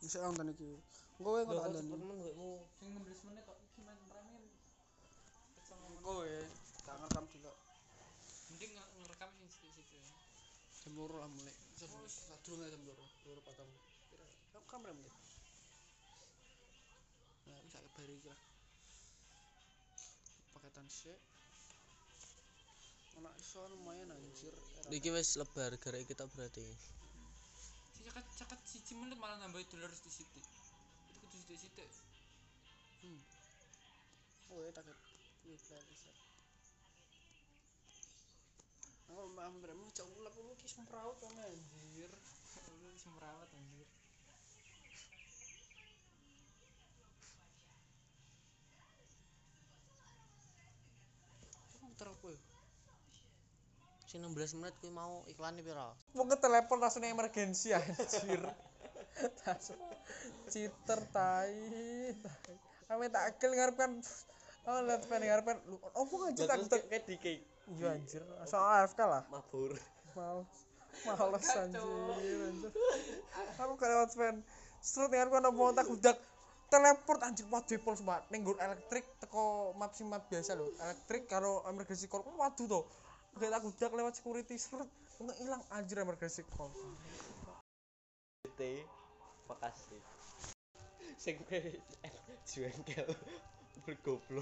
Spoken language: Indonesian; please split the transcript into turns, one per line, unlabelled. Isa ang tanan iki. Gowe ko talan.
mo.
Sing 16 menit kok iki main premin.
Gowe. Tak ngerekam dulu.
Mending nge- ngerekam sing situ-situ. ya.
Jam loro lah mulai. Jam sadurunge jam loro. Loro patang. Kira. Kamu kamera menit. Nah, bisa lebar iki lah. Paketan sik. Anak iso lumayan anjir.
Iki wis lebar gara kita berarti.
Si ceket ceket siji menit malah nambah dolar di situ. Itu kudu situ-situ.
Oh ya takut Wibler Isat Aku mampir mau cak ulap lu kis meraut sama anjir
Lu wis merawat anjir.
Aku muter apa ya?
Sing 16 menit kuwi mau iklannya pira?
Mau ke telepon langsung emergensi anjir Langsung Citer tai Kami tak akil ngarepkan Oh lihat pen ngarepkan Lu oh bukan anjir tak tak
kayak dikei
Iya anjir Soal AFK lah
mabur.
Males Males anjir anjir Aku gak lewat fan Serut dengar kan omongan tak udak Teleport anjir waduh pol semua Ning nggon elektrik teko map si map biasa lho Elektrik karo emergency call Oh, Waduh toh Gak tak udak lewat security serut Untuk hilang anjir emergency call
Te makasih. Sing pe- juengkel eh, bergoblok.